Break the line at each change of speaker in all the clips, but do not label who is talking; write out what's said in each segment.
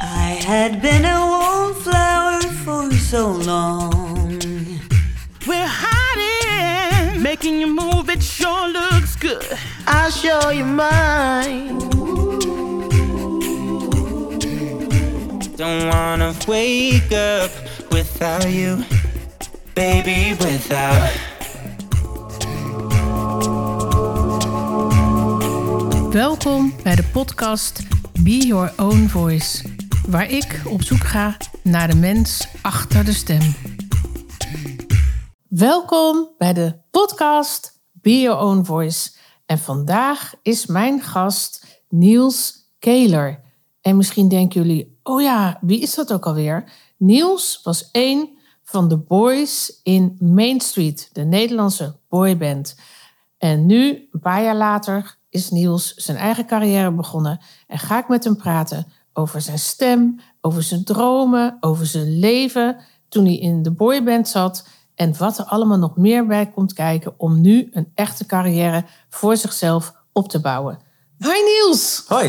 had been a wallflower for so long.
We're hiding, making you move. It sure looks good.
I'll show you mine.
Don't wanna wake up without you, baby, without.
Welkom bij de podcast Be Your Own Voice, waar ik op zoek ga naar de mens achter de stem. Welkom bij de podcast Be Your Own Voice. En vandaag is mijn gast Niels Keeler. En misschien denken jullie, oh ja, wie is dat ook alweer? Niels was een van de boys in Main Street, de Nederlandse boyband. En nu, een paar jaar later, is Niels zijn eigen carrière begonnen en ga ik met hem praten over zijn stem, over zijn dromen, over zijn leven toen hij in de boyband zat en wat er allemaal nog meer bij komt kijken om nu een echte carrière voor zichzelf op te bouwen. Hi Niels,
Hoi.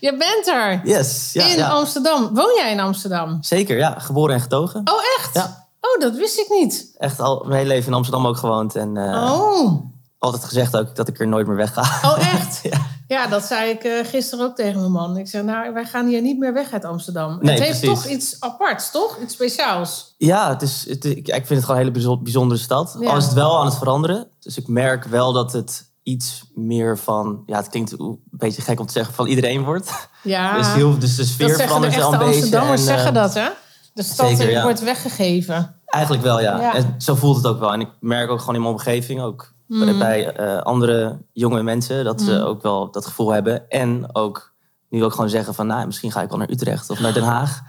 je bent er
Yes. Ja,
in
ja.
Amsterdam. Woon jij in Amsterdam?
Zeker, ja. Geboren en getogen.
Oh echt?
Ja.
Oh, dat wist ik niet.
Echt al mijn hele leven in Amsterdam ook gewoond. En eh,
Oh.
altijd gezegd ook dat ik er nooit meer weg ga.
Oh, echt?
Ja.
Ja, dat zei ik eh, gisteren ook tegen mijn man. Ik zei, nou, wij gaan hier niet meer weg uit Amsterdam.
Nee,
het heeft
precies.
toch iets aparts, toch? Iets speciaals.
Ja, het is, het, ik ik vind het gewoon een hele bijzo- bijzondere stad.
Ja.
Al is het wel aan het veranderen. Dus ik merk wel dat het iets meer van... Ja, het klinkt een beetje gek om te zeggen van iedereen wordt.
Ja,
Dus, heel, dus de sfeer
dat zeggen de
verandert wel
echte
een beetje.
Amsterdammers
en, eh,
zeggen dat, hè? De stad
zeker, ja.
wordt weggegeven.
Eigenlijk wel, ja.
Ja.
En zo voelt het ook wel. En ik merk ook gewoon in mijn omgeving, ook
Mm.
bij- bij eh, andere jonge mensen, dat ze ook wel dat gevoel hebben. En ook nu ook gewoon zeggen van, nou, misschien ga ik wel naar Utrecht of naar Den Haag.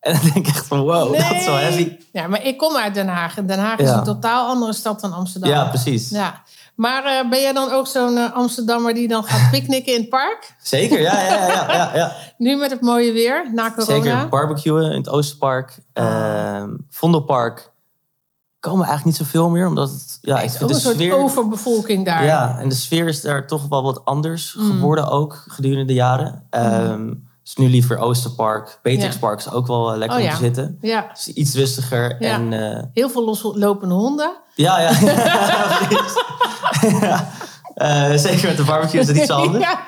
En dan denk ik echt van, wow, Oh, dat is wel
Nee.
heavy.
Ja, maar ik kom uit Den Haag. En Den Haag is
Ja.
een totaal andere stad dan Amsterdam.
Ja, precies.
Ja. Maar eh, ben jij dan ook zo'n eh, Amsterdammer die dan gaat picknicken in het park?
Zeker, ja, ja, ja, ja, ja, ja.
Nu met het mooie weer, na corona. Ah.
Zeker barbecuen in het Oosterpark, ehm, Vondelpark. Komen eigenlijk niet zoveel meer, omdat het, ja,
Het
ik
is
vind
ook
de
een soort
sfeer...
overbevolking daar.
Ja, en de sfeer is daar toch wel wat anders
Mm.
geworden ook gedurende de jaren. Ehm Dus nu liever Oosterpark. Beatrixpark is ook wel eh, lekker
Oh,
om
ja.
te zitten.
ja.
Het is iets rustiger.
Ja.
En eh,
Heel veel loslopende honden.
ja, ja. Precies. Ja. Eh, zeker met de barbecue is het niet zo handig.
Ja.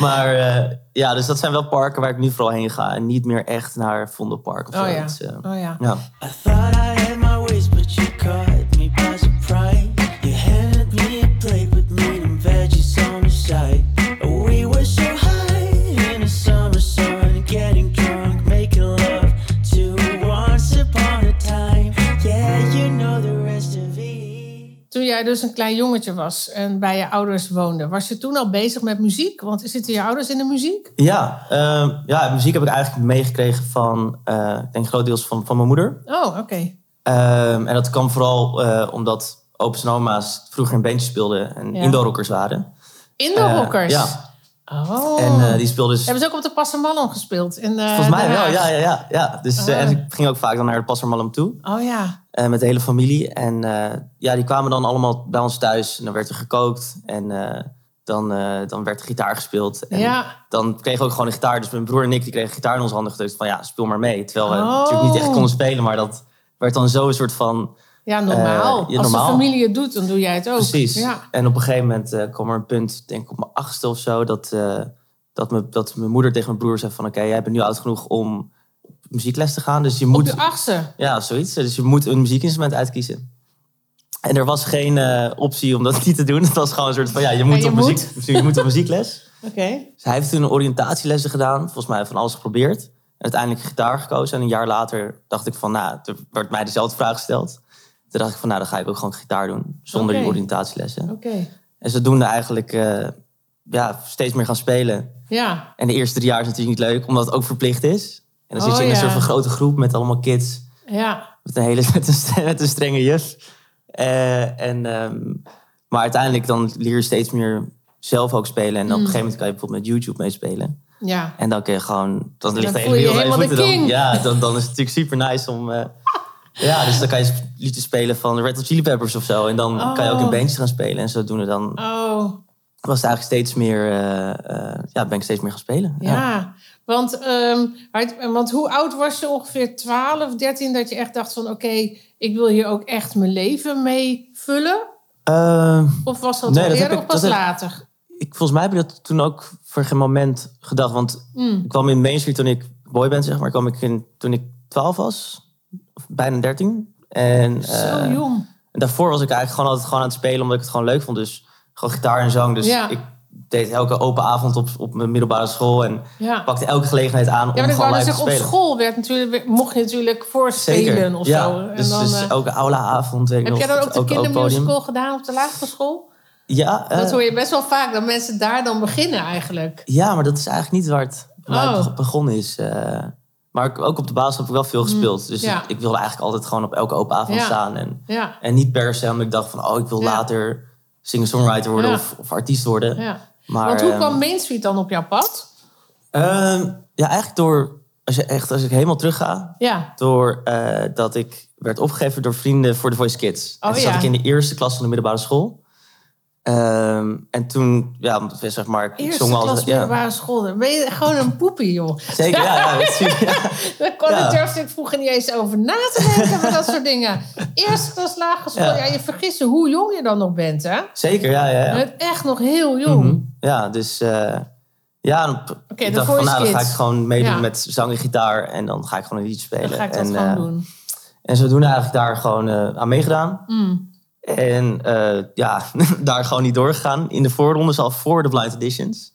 Maar eh, ja, dus dat zijn wel parken waar ik nu vooral heen ga. En niet meer echt naar Vondelpark of
Oh ja.
zoiets. eh.
Oh ja.
ja.
I thought I had my ways, but you caught me by surprise. You had me a plate with meat and veggies on the side. Oh, We were so high in the summer sun, getting drunk, making love to once upon a time. Yeah, you know the rest of it.
Toen jij dus een klein jongetje was en bij je ouders woonde, was je toen al bezig met muziek? Want zitten je ouders in de muziek?
Ja, ehm, ja, muziek heb ik eigenlijk meegekregen van, eh, ik denk grotendeels van, van mijn moeder.
Oh, oké.
Ehm, en dat kwam vooral eh, omdat opa's en oma's vroeger in bandjes speelden en
Ja.
indoorrockers waren.
Indoorhockers.
Eh, ja,
Oh.
en eh, die speelden dus,
Hebben ze ook op de Passamallon gespeeld? In, eh,
volgens mij
Den
wel,
Haag?
ja, ja, ja. ja. Dus, eh,
Ah.
en ik ging ook vaak dan naar de Passermalm toe
Oh ja.
eh, met de hele familie. En eh, ja, die kwamen dan allemaal bij ons thuis en dan werd er gekookt en eh, dan, eh, dan werd er gitaar gespeeld. En
Ja.
dan kregen we ook gewoon een gitaar. Dus mijn broer en ik die kregen gitaar in onze handen gedrukt van ja, speel maar mee. Terwijl we
Oh.
natuurlijk niet echt konden spelen, maar dat werd dan zo'n soort van...
Ja, normaal.
Eh, ja,
Als de
normaal.
familie het doet, dan doe jij het ook.
Precies.
Ja.
En op een gegeven moment eh, kwam er een punt, denk ik op mijn achtste of zo, dat, eh, dat, me, dat mijn moeder tegen mijn broer zei van oké, jij bent nu oud genoeg om op muziekles te gaan, dus je
Op
moet...
de achtste.
ja, zoiets. Dus je moet een muziekinstrument uitkiezen. En er was geen eh, optie om dat niet te doen. Het was gewoon een soort van ja, je moet,
je
op, Muziek, dus je moet op muziekles.
Oké.
Dus hij heeft toen een oriëntatielessen gedaan. Volgens mij van alles geprobeerd. En uiteindelijk gitaar gekozen. En een jaar later dacht ik van, nou, er werd mij dezelfde vraag gesteld. Toen dacht ik van, nou, dan ga ik ook gewoon gitaar doen. Zonder die
Oké.
oriëntatielessen.
Oké.
En zodoende eigenlijk eh, ja, steeds meer gaan spelen.
Ja.
En de eerste drie jaar is natuurlijk niet leuk, omdat het ook verplicht is. En dan
Oh,
zit je in een
ja.
soort van grote groep met allemaal kids.
Ja.
Met een, hele, met een, st- met een strenge juf. Eh, en, ehm, maar uiteindelijk dan leer je steeds meer zelf ook spelen. En op
Hmm.
een gegeven moment kan je bijvoorbeeld met YouTube meespelen.
Ja.
En dan kun je gewoon... Dan ligt de hele
voel je
wereld aan je
helemaal de
voeten dan.
king.
Ja, dan, dan is het natuurlijk super nice om... eh, ja, dus dan kan je sp- liedjes spelen van de Red Hot Chili Peppers of zo. En dan kan je ook
Oh.
in bandjes gaan spelen. En zodoende dan
Oh.
was het eigenlijk steeds meer... eh, eh, ja, ben ik steeds meer gaan spelen.
Ja. Want, ehm, hij- want hoe oud was je ongeveer 12, 13 dat je echt dacht van oké, ik wil hier ook echt mijn leven mee vullen?
Eh,
Of was dat
Nee,
al
dat heb
eerder
ik-
of pas
dat heb-
later?
ik, volgens mij heb ik dat toen ook voor geen moment gedacht. Want
Mm.
ik kwam in Main Street toen ik boy ben, zeg maar. Kwam ik in, toen ik 12 was, of bijna 13. En
Zo
eh,
jong.
En daarvoor was ik eigenlijk gewoon altijd gewoon aan het spelen, omdat ik het gewoon leuk vond. Dus gewoon gitaar en zang. Dus
Ja.
ik deed elke open avond op, op mijn middelbare school en
Ja.
pakte elke gelegenheid aan om
Ja, maar ik
gewoon
wou net
live te
zeggen, op
spelen.
school werd natuurlijk, mocht je natuurlijk voorspelen
Zeker.
of
ja.
zo.
Dus,
eh,
dus elke aulaavond. weet ik
heb
nog,
jij dan ook de
elke open podium.
kindermusical gedaan op de lagere school?
Ja, eh,
dat hoor je best wel vaak, dat mensen daar dan beginnen eigenlijk.
ja, maar dat is eigenlijk niet waar het, waar het
Oh.
beg- begonnen is. eh. maar ik- ook op de basis heb ik wel veel gespeeld. Dus
Mm, ja.
ik, ik wilde eigenlijk altijd gewoon op elke open avond
Ja.
staan. En,
Ja,
en niet per se omdat ik dacht van... oh, ik wil
Ja.
later singer-songwriter worden
Ja.
of, of artiest worden.
ja.
Maar,
Want hoe
ehm,
kwam Main Street dan op jouw pad?
Ehm, ja, eigenlijk door, als, je echt, als ik helemaal terugga,
Ja,
door eh, dat ik werd opgegeven door vrienden voor de Voice Kids.
Oh,
en toen zat
ja.
ik in de eerste klas van de middelbare school. Ehm, en toen, ja, zeg maar, ik
eerste
zong wel
klas
altijd- ja,
middelbare school. Dan ben je gewoon een poepie, joh.
Zeker, ja, ja, precies, ja.
Daar kon
Ja.
ik durfde ik vroeger niet eens over na te denken, maar dat soort dingen. Eerste klas lagere school. Ja.
Ja.
je vergist je hoe jong je dan nog bent, hè?
Zeker, ja, ja. ja.
Het echt nog heel jong.
Mhm. Ja, dus eh, ja, dan,
Oké,
ik
de
dacht van,
Voice
nou, dan ga
Kids.
ik gewoon meedoen
Ja.
met zang en gitaar en dan ga ik gewoon een liedje spelen.
Dan ga ik dat
en,
gewoon
eh,
doen.
en zodoende eigenlijk daar gewoon eh, aan meegedaan.
Mm.
En eh, ja, daar gewoon niet doorgegaan. In de voorrondes al voor de Blind Editions.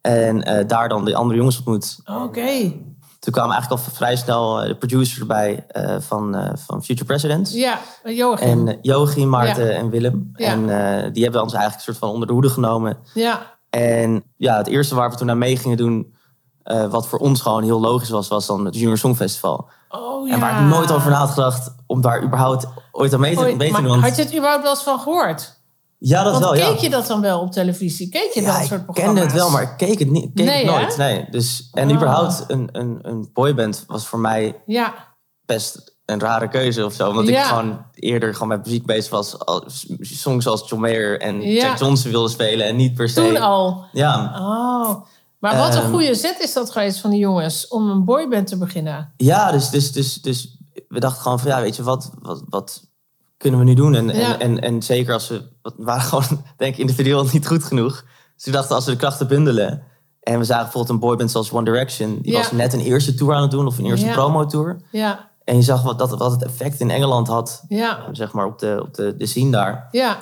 En eh, daar dan de andere jongens ontmoet.
Oké.
Toen kwam eigenlijk al vrij snel eh, de producer bij eh, van, eh, van Future Presidents.
Ja, Joachim.
En eh, Joachim, Maarten en Willem.
Ja.
En eh, die hebben ons eigenlijk een soort van onder de hoede genomen.
ja.
En ja, het eerste waar we toen aan mee gingen doen... eh, wat voor ons gewoon heel logisch was, was dan het Junior Song Festival.
Oh, ja.
En waar ik nooit over na had gedacht om daar überhaupt ooit aan mee te,
Ooit-
mee te
maar
doen. want-
Had je het überhaupt wel eens van gehoord?
ja, dat
Want
wel, ja.
keek je dat dan wel op televisie? Keek je
Ja,
dat
ik
soort programma's?
kende het wel, maar ik keek het, niet, ik keek
Nee,
het nooit.
hè?
Nee. Dus, en
Ah.
überhaupt een, een, een boyband was voor mij
Ja,
best een rare keuze of zo. Omdat
Ja.
ik gewoon eerder gewoon met muziek bezig was. als- Songs als John Mayer en
Ja.
Jack Johnson wilde spelen en niet per se...
toen al.
Ja.
Oh. Maar wat een
Ehm.
goede zet is dat geweest van die jongens om een boyband te beginnen.
ja, dus, dus, dus, dus we dachten gewoon van ja, weet je, wat, wat, wat kunnen we nu doen? En,
Ja.
en, en, en zeker als we... wat- We waren gewoon, denk ik, individueel niet goed genoeg. Dus we dachten als we de krachten bundelen... En we zagen bijvoorbeeld een boyband zoals One Direction. Die
Ja.
was net een eerste tour aan het doen of een eerste
Ja.
promo-tour.
Ja,
En je zag wat, dat, wat het effect in Engeland had,
ja,
zeg maar, op de, op de, de scene daar.
ja.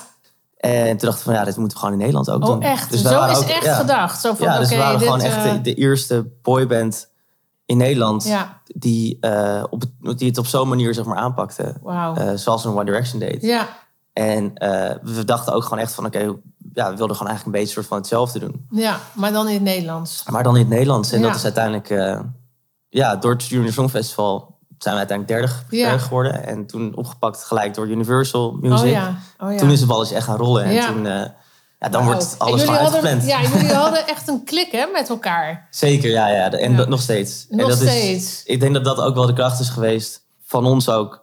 En toen dachten we van, ja, dit moeten we gewoon in Nederland ook doen.
Oh, echt?
Dus we
zo
waren
is
ook-
echt
ja.
gedacht. Zo van,
Ja, dus
oké,
we waren
dit...
gewoon echt
eh,
de, de eerste boyband in Nederland
Ja.
die, eh, op, het- die het op zo'n manier, zeg maar, aanpakte.
Wauw.
Eh, zoals een One Direction deed.
ja,
En eh, we dachten ook gewoon echt van, oké, hoe- ja, we wilden gewoon eigenlijk een beetje soort van hetzelfde doen.
ja, maar dan in het Nederlands.
Maar dan in het Nederlands. En
Ja.
dat is uiteindelijk, eh, ja, door het Junior Songfestival zijn we uiteindelijk derde,
Ja.
derde geworden. En toen opgepakt gelijk door Universal Music.
Oh ja, oh ja.
Toen is de bal eens echt gaan rollen. En
Ja.
toen, eh, ja, dan wordt
Oh. En
alles
jullie
van
hadden, Ja,
uitgepland.
jullie hadden echt een klik hè, met elkaar.
Zeker, ja, ja. En dat nog steeds.
Nog
en dat
steeds.
Is, ik denk dat dat ook wel de kracht is geweest. Van ons ook.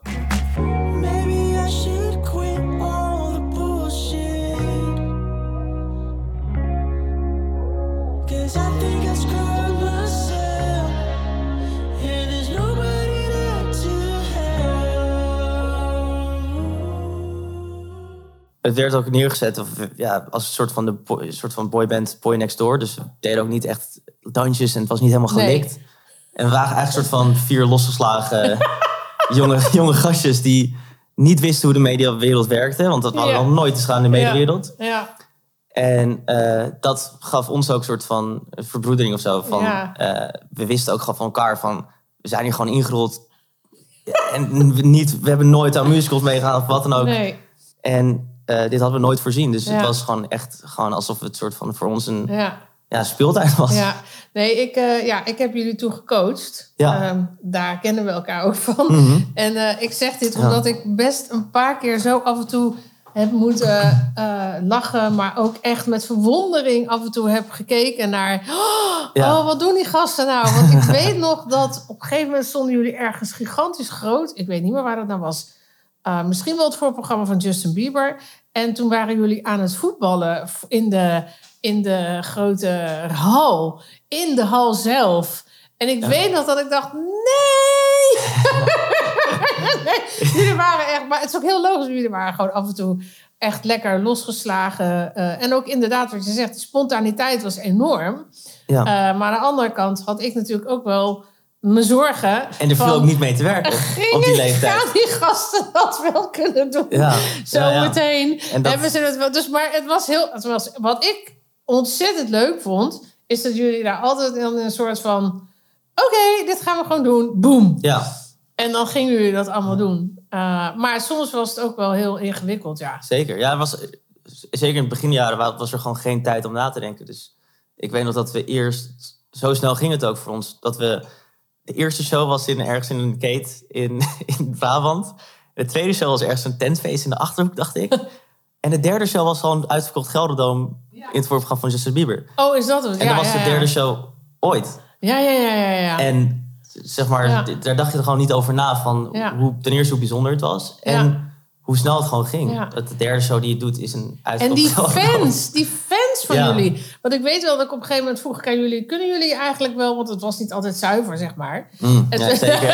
Maybe I should quit all the bullshit. Cause I think I screwed myself. And there's nobody there to help.
Het werd ook neergezet of, ja, als een soort van, de boy, een soort van boyband Boy Next Door. Dus we deden ook niet echt dansjes en het was niet helemaal
Nee.
gelikt. En we waren eigenlijk een soort van vier losgeslagen jonge, jonge gastjes die niet wisten hoe de mediawereld werkte. Want dat hadden we
Ja.
nog nooit eens gedaan in de mediawereld.
Ja,
En eh, dat gaf ons ook een soort van verbroedering of zo. Van,
Ja.
eh, we wisten ook gewoon van elkaar van, we zijn hier gewoon ingerold. En we niet, we hebben nooit aan musicals meegehaald of wat dan ook.
nee,
En eh, dit hadden we nooit voorzien. Dus
Ja.
het was gewoon echt gewoon alsof het soort van voor ons een
ja.
ja, speeltuin was. Ja.
Ja, nee, ik, eh, ja, ik heb jullie toen gecoacht.
Ja.
Ehm, daar kennen we elkaar ook van. En eh, ik zeg dit omdat ik best een paar keer zo af en toe heb moeten eh, lachen. Maar ook echt met verwondering af en toe heb gekeken naar... "Oh,
Ja.
Oh, wat doen die gasten nou? Want ik weet nog dat op een gegeven moment stonden jullie ergens gigantisch groot. Ik weet niet meer waar dat nou was. Eh, misschien wel het voorprogramma van Justin Bieber. En toen waren jullie aan het voetballen in de, in de grote hal. In de hal zelf. En ik weet nog dat ik dacht, nee! nee! Jullie waren echt, maar het is ook heel logisch, jullie waren gewoon af en toe echt lekker losgeslagen. Eh, en ook inderdaad, wat je zegt, de spontaniteit was enorm.
Ja.
Eh, maar aan de andere kant had ik natuurlijk ook wel mijn zorgen.
en er viel
van,
ook niet mee te werken op die
gingen-
leeftijd.
Gaan die gasten dat wel kunnen doen?
Ja,
Zo
ja, ja.
meteen
En dat-
hebben ze het wel. Dus, maar het was heel. Het was, wat ik ontzettend leuk vond, is dat jullie daar altijd in een soort van. Oké, dit gaan we gewoon doen. Boom.
Ja,
En dan gingen jullie dat allemaal doen. Uh, maar soms was het ook wel heel ingewikkeld, ja.
zeker. Ja, het was, zeker in het beginjaren wa- was er gewoon geen tijd om na te denken. Dus ik weet nog dat we eerst... Zo snel ging het ook voor ons. Dat we... De eerste show was in, ergens in een gate in, in Brabant. De tweede show was ergens een tentfeest in de Achterhoek, dacht ik. En de derde show was gewoon uitverkocht Gelderdoom... in het voorprogramma van Justin Bieber.
Oh, is dat het?
En
ja,
dat
ja,
was de
ja.
derde show ooit.
Ja, ja, ja, ja. ja.
En zeg maar,
Ja.
d- daar dacht je er gewoon niet over na. Van
Ja.
hoe, ten eerste hoe bijzonder het was. En
Ja.
hoe snel het gewoon ging.
Ja.
Dat de derde show die je doet is een
En
uitverkocht
die
Gelderdoom.
fans, die fans van
Ja.
jullie. Want ik weet wel dat ik op een gegeven moment vroeg ik aan jullie... kunnen jullie eigenlijk wel, want het was niet altijd zuiver, zeg maar.
Mm,
En
ja,
toen-
zeker.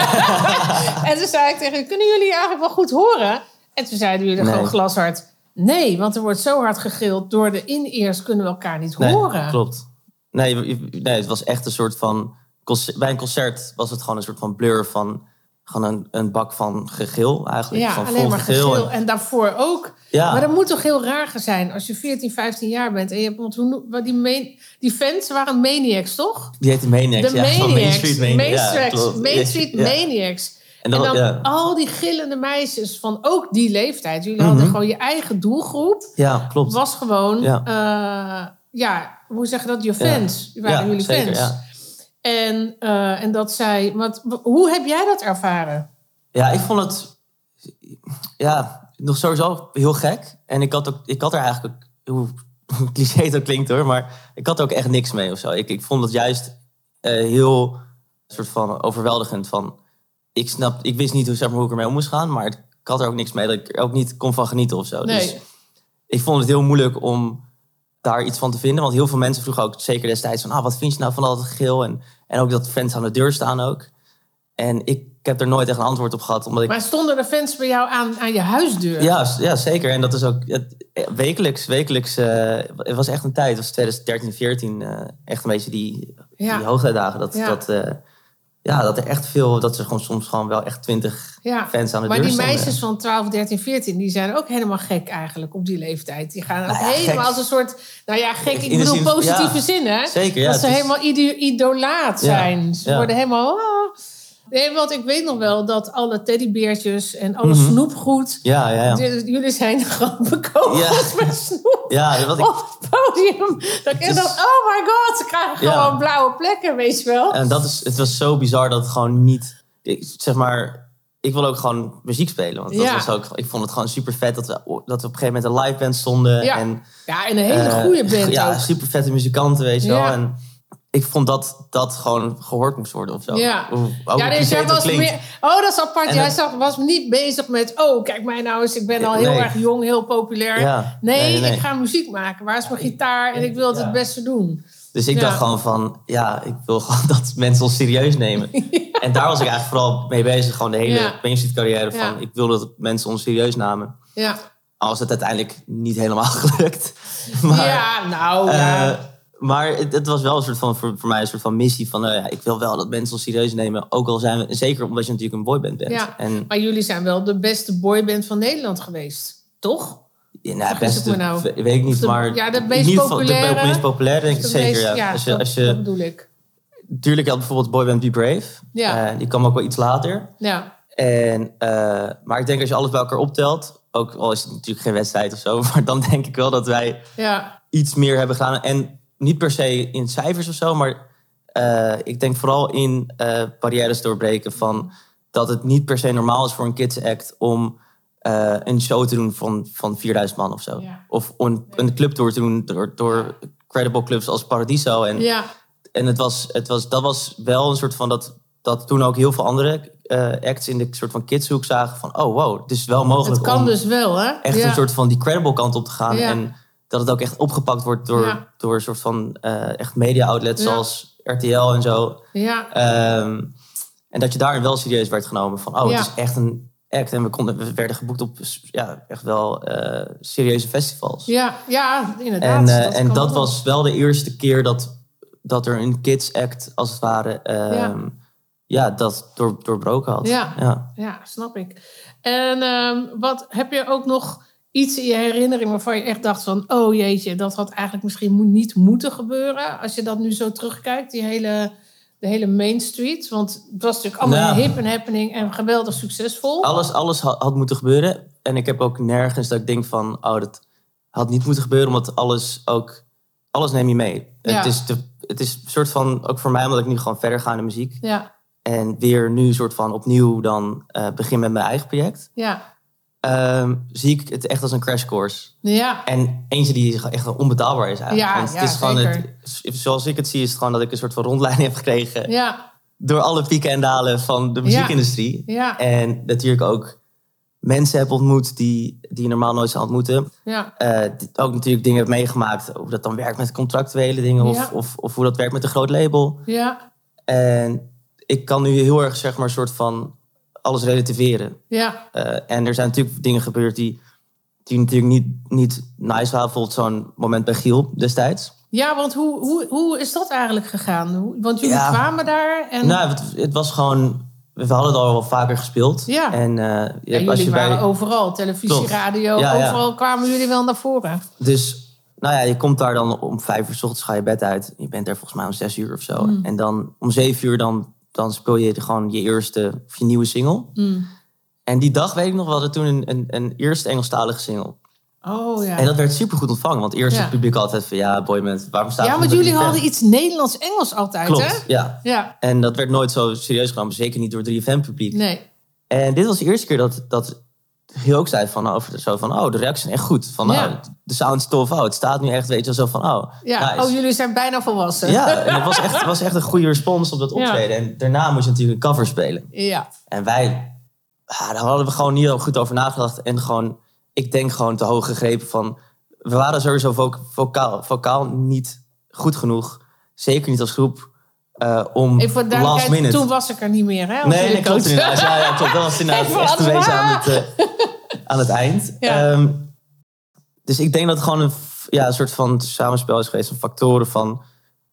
en toen zei ik tegen jullie, kunnen jullie eigenlijk wel goed horen? En toen zeiden jullie
Nee.
gewoon glashard... nee, want er wordt zo hard gegrild... door de in-ears kunnen we elkaar niet
Nee,
horen.
Klopt. Nee, je- je- nee, het was echt een soort van... conce- Bij een concert was het gewoon een soort van blur van... Gewoon een, een bak van gegil eigenlijk.
Ja,
van
alleen
vol
maar
gegil.
gegil.
En-
En daarvoor ook.
Ja.
Maar dat moet toch heel raar zijn als je 14, 15 jaar bent. En je hebt, want hoe, noem- wat die, men- die fans waren maniacs, toch?
die heette Maniacs.
de
ja,
Maniacs.
Van Main Street Maniacs.
Main
Ja,
Street-
klopt.
Main Street
Ja.
Maniacs. En
En
dan,
dat- ja. Mhm.
al die gillende meisjes van ook die leeftijd. Jullie hadden gewoon je eigen doelgroep.
Ja, klopt.
Was gewoon,
Ja.
ja, ja hoe zeg je dat? Je fans.
Ja.
Waren
Ja,
jullie
zeker,
fans.
ja.
En, eh, en dat zij... Wat, hoe heb jij dat ervaren?
Ja, ik vond het ja, nog sowieso heel gek. En ik had, ook, ik had er eigenlijk, ook- hoe cliché dat klinkt hoor, maar ik had er ook echt niks mee of zo. Ik, ik vond het juist eh, heel soort van overweldigend. Van, ik, snap, ik wist niet hoe, zeg maar, hoe ik ermee om moest gaan, maar ik had er ook niks mee. Dat ik er ook niet kon van genieten of zo.
Nee.
Dus ik vond het heel moeilijk om daar iets van te vinden. Want heel veel mensen vroegen ook zeker destijds van... Ah, wat vind je nou van al dat geel? En, en ook dat fans aan de deur staan ook. En ik heb er nooit echt een antwoord op gehad. Omdat ik
Maar stonden de fans bij jou aan, aan je huisdeur?
ja, s- ja, zeker. En dat is ook het, eh, wekelijks. wekelijks eh, het was echt een tijd. Het was 2013, 14. eh, echt een beetje die,
Ja.
die hoogtijdagen. Dat,
Ja.
Dat, eh, ja, dat er echt veel... Dat ze gewoon soms gewoon wel echt twintig
Ja,
fans aan de
maar
deur
die
stonden.
meisjes van 12, 13, 14, die zijn ook helemaal gek eigenlijk op die leeftijd. Die gaan ook
Nou ja,
helemaal
gek.
als een soort, nou ja, gek, ik
In de
bedoel
zin-
positieve
ja,
zin hè.
zeker, ja,
dat ze
het is-
helemaal ido- idolaat
Ja,
zijn. Ze
ja.
worden helemaal... ah. Nee, want ik weet nog wel dat alle teddybeertjes en alle snoepgoed...
Mhm. Ja, ja, ja.
J- Dus Jullie zijn gewoon bekogeld met snoep
Ja, wat ik-
op het podium. Dan denk ik
is-
dan, oh my god, ze krijgen
Ja.
gewoon blauwe plekken, weet je wel.
En dat is, het was zo bizar dat het gewoon niet. Ik, zeg maar, ik wil ook gewoon muziek spelen. Want dat
Ja.
was ook, ik vond het gewoon super vet dat we, dat we op een gegeven moment een live band stonden.
Ja,
En,
ja en een hele
eh,
goede band
Ja,
ook.
super vette muzikanten, weet je
Ja.
wel. En ik vond dat dat gewoon gehoord moest worden of zo.
Ja,
Hoe- ook
ja
hoe
dus
cliché
jij
het ook
was
klinkt.
meer. Oh, dat is apart.
En
jij
dat-
zag, was niet bezig met. Oh, kijk mij nou eens. Ik ben al heel
Eh, Nee.
erg jong, heel populair.
Ja.
Nee,
Nee, nee, nee.
ik ga muziek maken. Waar is mijn gitaar? En ik wil het
Ja.
het beste doen.
Dus ik
Ja.
dacht gewoon van, ja, ik wil gewoon dat mensen ons serieus nemen. En daar was ik eigenlijk vooral mee bezig. Gewoon de hele
Ja.
Main Street carrière van,
Ja.
ik wil dat mensen ons serieus namen.
Ja,
Al was het uiteindelijk niet helemaal gelukt. Maar,
ja nou.
eh,
ja.
maar het, het was wel een soort van, voor, voor mij een soort van missie van... nou ja, ik wil wel dat mensen ons serieus nemen. Ook al zijn we... en Zeker omdat je natuurlijk een boyband bent.
ja.
Eh, En
Maar jullie zijn wel de beste boyband van Nederland geweest. Toch?
ja,
ik
nou, best,
me nou.
weet ik niet,
Of de-
maar...
ja, de
in
meest
ieder geval De
populaire-
meest populaire, denk ik
De
zeker.
meest-
ja. als je,
dat,
als
dat
je,
bedoel ik.
natuurlijk had bijvoorbeeld boyband Be Brave.
Ja.
Eh, die kwam ook wel iets later.
Ja.
En, eh, maar ik denk als je alles bij elkaar optelt... Ook al is het natuurlijk geen wedstrijd of zo... Maar dan denk ik wel dat wij
Ja.
iets meer hebben gedaan. En niet per se in cijfers of zo, maar eh, ik denk vooral in eh, barrières doorbreken. Van dat het niet per se normaal is voor een kids act om eh, een show te doen van, van 4000 man of zo.
Ja.
Of een, een clubtour te doen door, door credible clubs als Paradiso. En,
Ja.
en het was, het was, dat was wel een soort van dat, dat toen ook heel veel andere eh, acts in de soort van kidshoek zagen van oh wow, het is wel mogelijk
Het kan
om
dus wel, hè?
echt
ja.
een soort van die credible kant op te gaan.
Ja.
En dat het ook echt opgepakt wordt door,
Ja.
door een soort van eh, echt media outlets
Ja.
zoals RTL en zo.
Ja,
Ehm, en dat je daarin wel serieus werd genomen van, oh,
Ja.
het is echt een act. En we, konden, we werden geboekt op ja, echt wel eh, serieuze festivals.
ja, ja inderdaad.
en eh, en
kan
dat
wel.
was wel de eerste keer dat, dat er een kids act, als het ware, ehm, ja. dat door, doorbroken had.
Ja. Ja, snap ik. En ehm, wat heb je ook nog iets in je herinnering waarvan je echt dacht van... oh jeetje, dat had eigenlijk misschien mo- niet moeten gebeuren... als je dat nu zo terugkijkt, die hele, de hele Main Street. Want het was natuurlijk allemaal
Nou.
hip en happening en geweldig succesvol.
Alles, alles ha- had, moeten gebeuren. En ik heb ook nergens dat ik denk van, oh, dat had niet moeten gebeuren, omdat alles ook, alles neem je mee.
Ja.
Het, is de, het is een soort van, ook voor mij, omdat ik nu gewoon verder ga in de muziek.
Ja,
En weer nu soort van opnieuw dan eh, begin met mijn eigen project.
ja,
ehm, zie ik het echt als een crash course.
ja,
En eentje die echt wel onbetaalbaar is eigenlijk.
Ja,
Want het
ja,
is gewoon
zeker.
het- zoals ik het zie, is het gewoon dat ik een soort van rondleiding heb gekregen.
ja,
Door alle pieken en dalen van de muziekindustrie.
ja,
En natuurlijk ook mensen heb ontmoet die, die je normaal nooit zou ontmoeten.
ja,
Eh, die ook natuurlijk dingen heb meegemaakt. Hoe dat dan werkt met contractuele dingen. Of,
Ja.
of, of hoe dat werkt met een groot label.
ja,
En ik kan nu heel erg, zeg maar, soort van alles relativeren.
ja,
Eh, en er zijn natuurlijk dingen gebeurd die, die natuurlijk niet, niet nice waren. Bijvoorbeeld zo'n moment bij Giel destijds.
ja. Want hoe, hoe, hoe is dat eigenlijk gegaan? Hoe- Want jullie
Ja.
kwamen daar en...
Nou, het, het was gewoon... We hadden het al wel vaker gespeeld.
Ja.
En, eh, je hebt-
ja,
als
jullie
je bij,
waren overal, televisie,
Klopt.
radio,
Ja, ja.
overal kwamen jullie wel naar voren.
Dus nou ja, je komt daar dan om vijf uur s ochtends ga je bed uit. Je bent er volgens mij om zes uur of zo.
Mm.
En dan om zeven uur dan, dan speel je gewoon je eerste of je nieuwe single.
Mm.
En die dag weet ik nog wel dat toen een, een, een eerste Engelstalige single.
Oh ja.
En dat werd supergoed ontvangen. Want eerst
Ja.
het publiek altijd van ja, boy, met, waarom staat
ja,
er
want
niet
jullie
dat je
hadden
bent?
iets Nederlands-Engels altijd, hè?
Klopt, ja.
Ja,
En dat werd nooit zo serieus genomen. Zeker niet door 3FM-publiek.
nee.
En dit was de eerste keer dat, dat Giel ook zei van, over, zo van... Oh, de reacties zijn echt goed. Van,
Ja.
oh, de sound is tof. Oh, het staat nu echt, weet je wel, zo van... Oh,
Ja.
nice.
Oh, jullie zijn bijna volwassen.
Ja, en het was echt, het was echt een goede respons op dat
Ja.
optreden. En daarna moest je natuurlijk een cover spelen.
Ja,
En wij, ah, daar hadden we gewoon niet heel goed over nagedacht. En gewoon, ik denk gewoon te hoog gegrepen van... We waren sowieso vo- vocaal, vocaal niet goed genoeg. Zeker niet als groep. eh, om
even voor de
last
duidelijkheid,
minute...
toen was ik er niet meer, hè? als
Nee,
jullie
nee, klopt
Oh, coach.
inderdaad. Ja, ja, klopt. Dat was inderdaad
Even
echt te
wat-
wezen aan het, eh, aan het eind.
Ja.
Ehm, dus ik denk dat het gewoon een, f- ja, een soort van samenspel is geweest van factoren van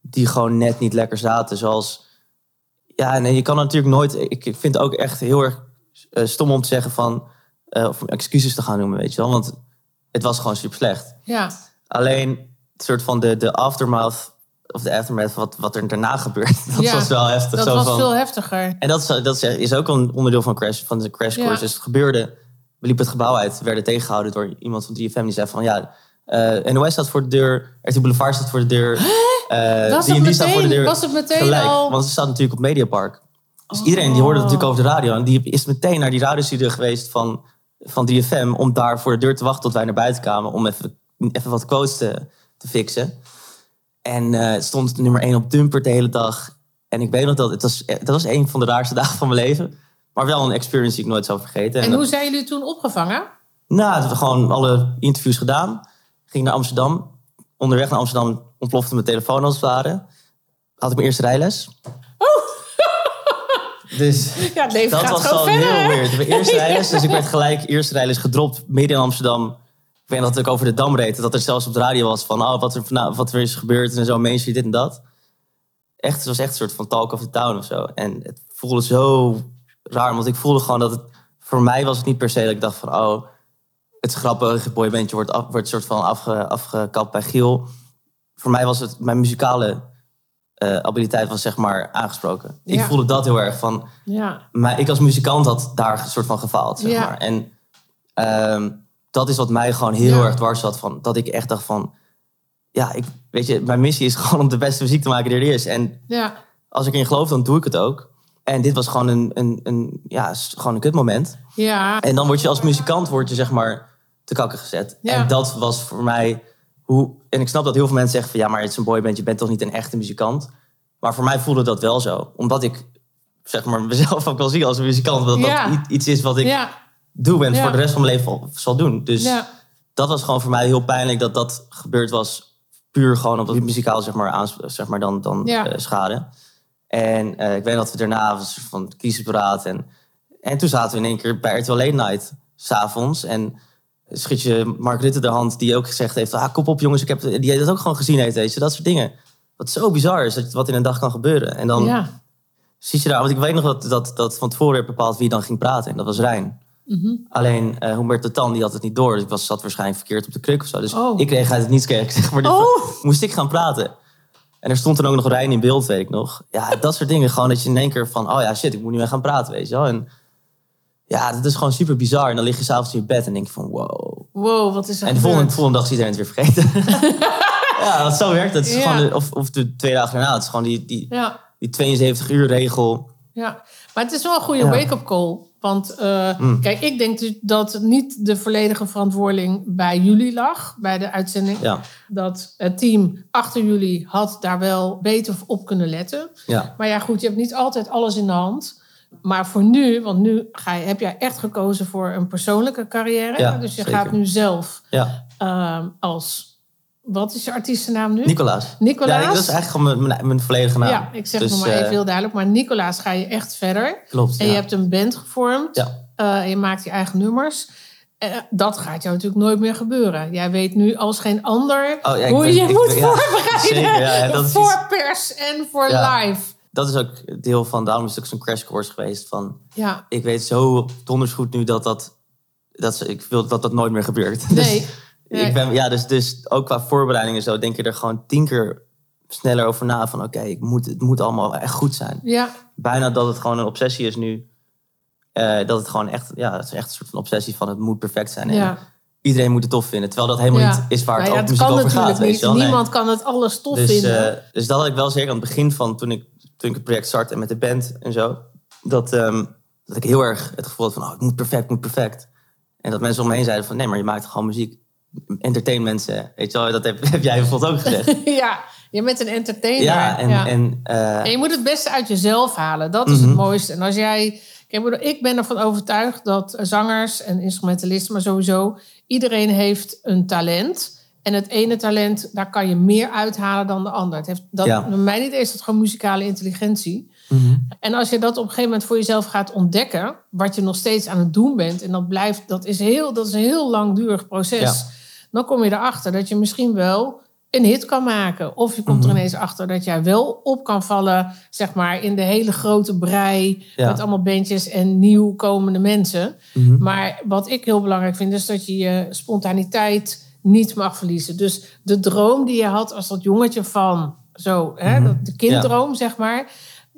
die gewoon net niet lekker zaten. Zoals, ja, nee, je kan natuurlijk nooit, ik ik vind het ook echt heel erg eh, stom om te zeggen van, eh, of om excuses te gaan noemen, weet je wel. Want het was gewoon super slecht.
Ja,
Alleen het soort van de, de aftermath, of de aftermath, wat, wat er daarna gebeurt, dat
Ja,
was wel heftig.
dat
zo
was
van, eh,
veel heftiger.
en dat, is- dat is- is ook een onderdeel van, crash, van de crash course.
Ja.
Dus het gebeurde, we liepen het gebouw uit, we werden tegengehouden door iemand van 3FM. Die zei van ja, eh NOS staat voor de deur, RT Boulevard staat voor de deur. eh,
Was
die en
het
die staat voor de
meteen-
deur.
was het meteen
Gelijk,
al- Oh.
want ze staat natuurlijk op Mediapark. Dus iedereen die hoorde het natuurlijk over de radio. En die is meteen naar die radiostudio geweest van, van 3FM. Om daar voor de deur te wachten tot wij naar buiten kwamen. Om even, even wat quotes te, te fixen. En eh, het stond nummer 1 op Dumper de hele dag. En ik weet nog dat het was, eh, dat was een van de raarste dagen van mijn leven. Maar wel een experience die ik nooit zal vergeten.
En
dat-
hoe zijn jullie toen opgevangen?
Nou, we hebben gewoon alle interviews gedaan. Ging naar Amsterdam. Onderweg naar Amsterdam ontplofte mijn telefoon als het ware. Had ik mijn eerste rijles. Dus
Ja, het leven
dat
gaat
was
gewoon
al
verder.
heel
hè?
weird. Mijn eerste rijles, dus ik werd gelijk eerste rijles gedropt midden in Amsterdam. Ik weet dat ik over de Dam reed. Dat er zelfs op de radio was van oh, wat, er, vana- wat er is gebeurd en zo, mensen dit en dat. Echt, het was echt een soort van talk of the town of zo. En het voelde zo raar, want ik voelde gewoon dat het... Voor mij was het niet per se dat ik dacht van oh, het is grappig, het boybandje wordt, af, wordt soort van afge, afgekapt bij Giel. Voor mij was het, mijn muzikale eh, habiliteit was zeg maar aangesproken. Ik
Ja.
voelde dat heel erg van...
Ja,
Maar ik als muzikant had daar een soort van gefaald, zeg
Ja.
maar. En ehm, dat is wat mij gewoon heel
Ja.
erg dwars zat. Van, dat ik echt dacht van... Ja, ik, weet je, mijn missie is gewoon om de beste muziek te maken die er is. En
ja,
als ik in geloof, dan doe ik het ook. En dit was gewoon een, een, een, ja, s- gewoon een kutmoment.
ja.
En dan word je als muzikant word je, zeg maar, te kakken gezet.
Ja.
En dat was voor mij hoe... En ik snap dat heel veel mensen zeggen van... Ja, maar het is een boyband, je bent toch niet een echte muzikant? Maar voor mij voelde dat wel zo. Omdat ik, zeg maar, mezelf ook wel zie als een muzikant. Dat
Ja.
dat i- iets is wat ik
ja,
doe en
Ja.
voor de rest van mijn leven al- zal doen. Dus
Ja.
dat was gewoon voor mij heel pijnlijk dat dat gebeurd was. Puur gewoon op het muzikaal, zeg maar, aans- zeg maar dan, dan
Ja.
eh, schade. En eh, ik weet dat we daarna een soort van kiezenberaad. En, en toen zaten we in één keer bij RTL Late Night, s'avonds. En schiet je Mark Rutte de hand, die ook gezegd heeft... Ah, kop op jongens, ik heb, die dat ook gewoon gezien heeft, weet je. Dat soort dingen. Wat zo bizar is, dat, wat in een dag kan gebeuren. En dan
Ja.
zit je daar... Want ik weet nog dat, dat, dat van tevoren werd bepaald wie dan ging praten. En dat was Rijn.
Mhm.
Alleen eh Humbert de Tan, die had het niet door. Dus ik was, zat waarschijnlijk verkeerd op de kruk of zo. Dus
Oh.
ik kreeg uit het niets, kreeg ik, zeg maar, die-
Oh.
moest ik gaan praten. En er stond dan ook nog Rijn in beeld, weet ik nog. Ja, dat soort dingen. Gewoon dat je in één keer van... Oh ja, shit, ik moet nu weer gaan praten, weet je wel. En ja, dat is gewoon super bizar. En dan lig je s'avonds in je bed en denk je van... Wow,
Wow, wat is er
en de
gebeurd?
volgende, de volgende dag is iedereen het weer vergeten. ja, want zo werkt het. Het is
Ja.
gewoon de- of, of de twee dagen daarna. Het is gewoon die, die,
Ja.
die 72 uur regel.
Ja, maar het is wel een goede
Ja. Mm.
wake-up call. Want eh, kijk, ik denk dus dat niet de volledige verantwoording bij jullie lag, bij de uitzending.
Ja,
Dat het team achter jullie had daar wel beter op kunnen letten.
ja,
Maar ja, goed, je hebt niet altijd alles in de hand. Maar voor nu, want nu ga je, heb jij echt gekozen voor een persoonlijke carrière.
Ja,
dus je
zeker.
gaat nu zelf
ja.
eh, als. Wat is je artiestennaam nu?
Nicolaas.
Nicolaas?
Ja, dat is eigenlijk gewoon mijn, mijn, mijn volledige naam.
Ja, ik zeg
Dus,
nog maar
eh,
even heel duidelijk. Maar Nicolaas ga je echt verder.
Klopt,
En
ja.
je hebt een band gevormd.
Ja.
Eh, en je maakt je eigen nummers. Eh, dat gaat jou natuurlijk nooit meer gebeuren. Jij weet nu als geen ander
Oh, ja, ik
hoe
ben-
je
ik
moet
ben- ja,
voorbereiden.
zeker, ja, ja, dat is
voor
iets-
pers en voor
Ja.
live.
Dat is ook deel van... Daarom is het ook zo'n crash course geweest van...
Ja.
Ik weet zo donders goed nu dat dat... dat ze- ik wil dat dat nooit meer gebeurt.
Nee.
Dus,
Nee.
ik ben, ja, dus, dus ook qua voorbereiding en zo denk je er gewoon tien keer sneller over na. Van oké, ik moet, het moet allemaal echt goed zijn.
Ja.
bijna dat het gewoon een obsessie is nu. Eh, dat het gewoon echt, ja, het is echt een soort van obsessie van het moet perfect zijn. En
Ja.
Iedereen moet het tof vinden. Terwijl dat helemaal
ja.
niet is waar het
Nou ja,
ook muziek
kan
over
natuurlijk
gaat. Weet
niet.
je wel? Nee.
Niemand kan het alles tof
dus,
vinden.
eh, dus dat had ik wel zeker aan het begin van toen ik, toen ik het project startte en met de band en zo. Dat, ehm, dat ik heel erg het gevoel had van oh, het moet perfect, het moet perfect. En dat mensen om me heen zeiden van nee, maar je maakt gewoon muziek. Entertain mensen. Weet je wel, dat heb, heb jij bijvoorbeeld ook gezegd.
ja. Je bent een entertainer.
ja, en,
Ja.
en eh, Mhm.
En je moet het beste uit jezelf halen. Dat is het mooiste. En als jij. Ik bedoel, ik ben ervan overtuigd dat zangers en instrumentalisten, maar sowieso iedereen heeft een talent. En het ene talent, daar kan je meer uithalen dan de ander. Het heeft, dat,
Ja. Mhm.
Bij mij niet eens, dat gewoon muzikale intelligentie. En als je dat op een gegeven moment voor jezelf gaat ontdekken, wat je nog steeds aan het doen bent, en dat blijft, dat is, heel, dat is een heel langdurig proces,
Ja.
dan kom je erachter dat je misschien wel een hit kan maken. Of je komt
Mhm.
er ineens achter dat jij wel op kan vallen, zeg maar, in de hele grote brei
Ja. Mhm.
met allemaal bandjes en nieuw komende mensen. Maar wat ik heel belangrijk vind, is dat je je spontaniteit niet mag verliezen. Dus de droom die je had als dat jongetje van zo, hè,
Mhm.
dat- de kinddroom, zeg maar.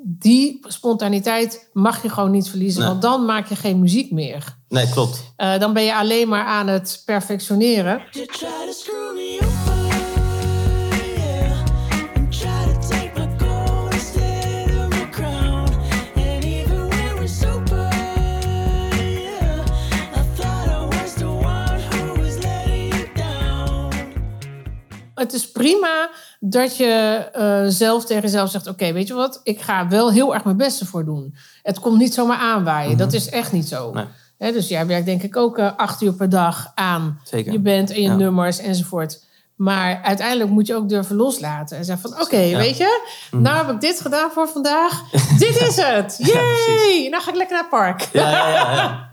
Die spontaniteit mag je gewoon niet verliezen,
Nee.
want dan maak je geen muziek meer.
nee, klopt.
Eh, dan ben je alleen maar aan het perfectioneren.
You try to screw me over, yeah. And try to take my gold instead of my crown. And even when we're sober, yeah. I thought I was the one who was letting you down.
Het is prima dat je eh, zelf tegen jezelf zegt: Oké, weet je wat, ik ga wel heel erg mijn best ervoor doen. Het komt niet zomaar aanwaaien. Dat is echt niet zo.
Mhm. Nee.
Hè, dus jij werkt denk ik ook eh, acht uur per dag aan
Zeker.
je band en je
Ja.
nummers enzovoort. Maar uiteindelijk moet je ook durven loslaten en zeggen van... oké, weet je,
Mhm.
nou heb ik dit gedaan voor vandaag. dit is het! Yay! nou ga ik lekker naar het park.
Ja, ja, ja. ja.